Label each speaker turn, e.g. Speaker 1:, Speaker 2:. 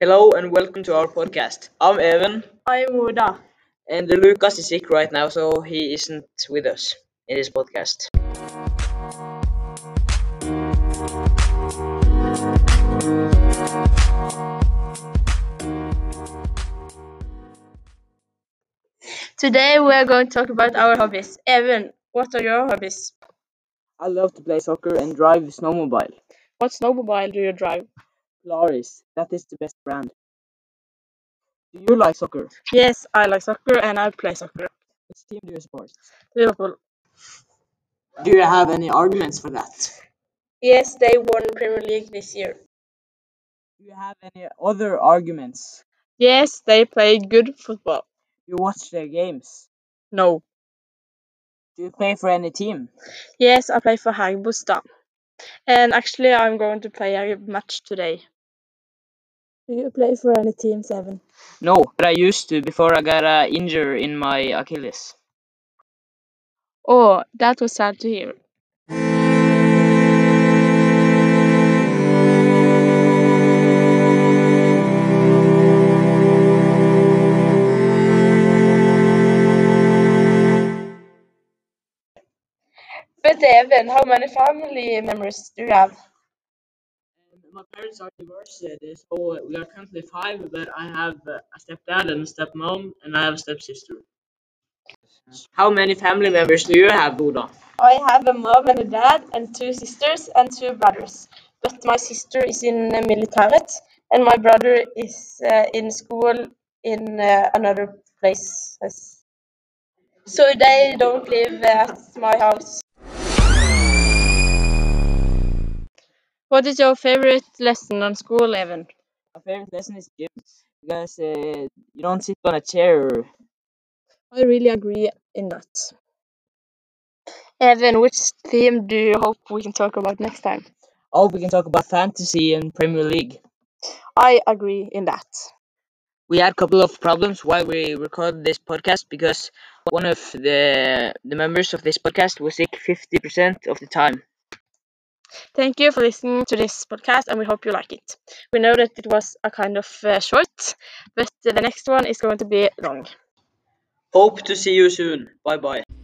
Speaker 1: Hello and welcome to our podcast. I'm Evan
Speaker 2: I'm Oda.
Speaker 1: and Lucas is sick right now, so he isn't with us in this podcast.
Speaker 2: Today we are going to talk about our hobbies. Evan, what are your hobbies?
Speaker 1: I love to play soccer and drive snowmobile.
Speaker 2: What snowmobile do you drive?
Speaker 1: Polaris, that is the best brand. Do you like soccer?
Speaker 2: Yes, I like soccer and I play soccer.
Speaker 1: Which team do you support?
Speaker 2: Liverpool.
Speaker 1: Do you have any arguments for that?
Speaker 2: Yes, they won Premier League this year.
Speaker 1: Do you have any other arguments?
Speaker 2: Yes, they play good football.
Speaker 1: You watch their games.
Speaker 2: No.
Speaker 1: Do you play for any team?
Speaker 2: Yes, I play for Hagbostad. And actually, I'm going to play a match today. Do you play for any team, Seven?
Speaker 1: No, but I used to before I got a injury in my Achilles.
Speaker 2: Oh, that was sad to hear. But Evan, how many family members do you have?
Speaker 1: Um, my parents are divorced, uh, they- so uh, we are currently five, but I have uh, a stepdad and a stepmom, and I have a stepsister. How many family members do you have, Buddha?
Speaker 2: I have a mom and a dad and two sisters and two brothers. But my sister is in the military and my brother is uh, in school in uh, another place. So they don't live at my house. What is your favorite lesson on school, Evan?
Speaker 1: My favorite lesson is gym because uh, you don't sit on a chair.
Speaker 2: I really agree in that. Evan, which theme do you hope we can talk about next time?
Speaker 1: Oh, we can talk about fantasy and Premier League.
Speaker 2: I agree in that.
Speaker 1: We had a couple of problems while we recorded this podcast because one of the the members of this podcast was sick 50% of the time.
Speaker 2: Thank you for listening to this podcast, and we hope you like it. We know that it was a kind of uh, short, but the next one is going to be long.
Speaker 1: Hope to see you soon. Bye bye.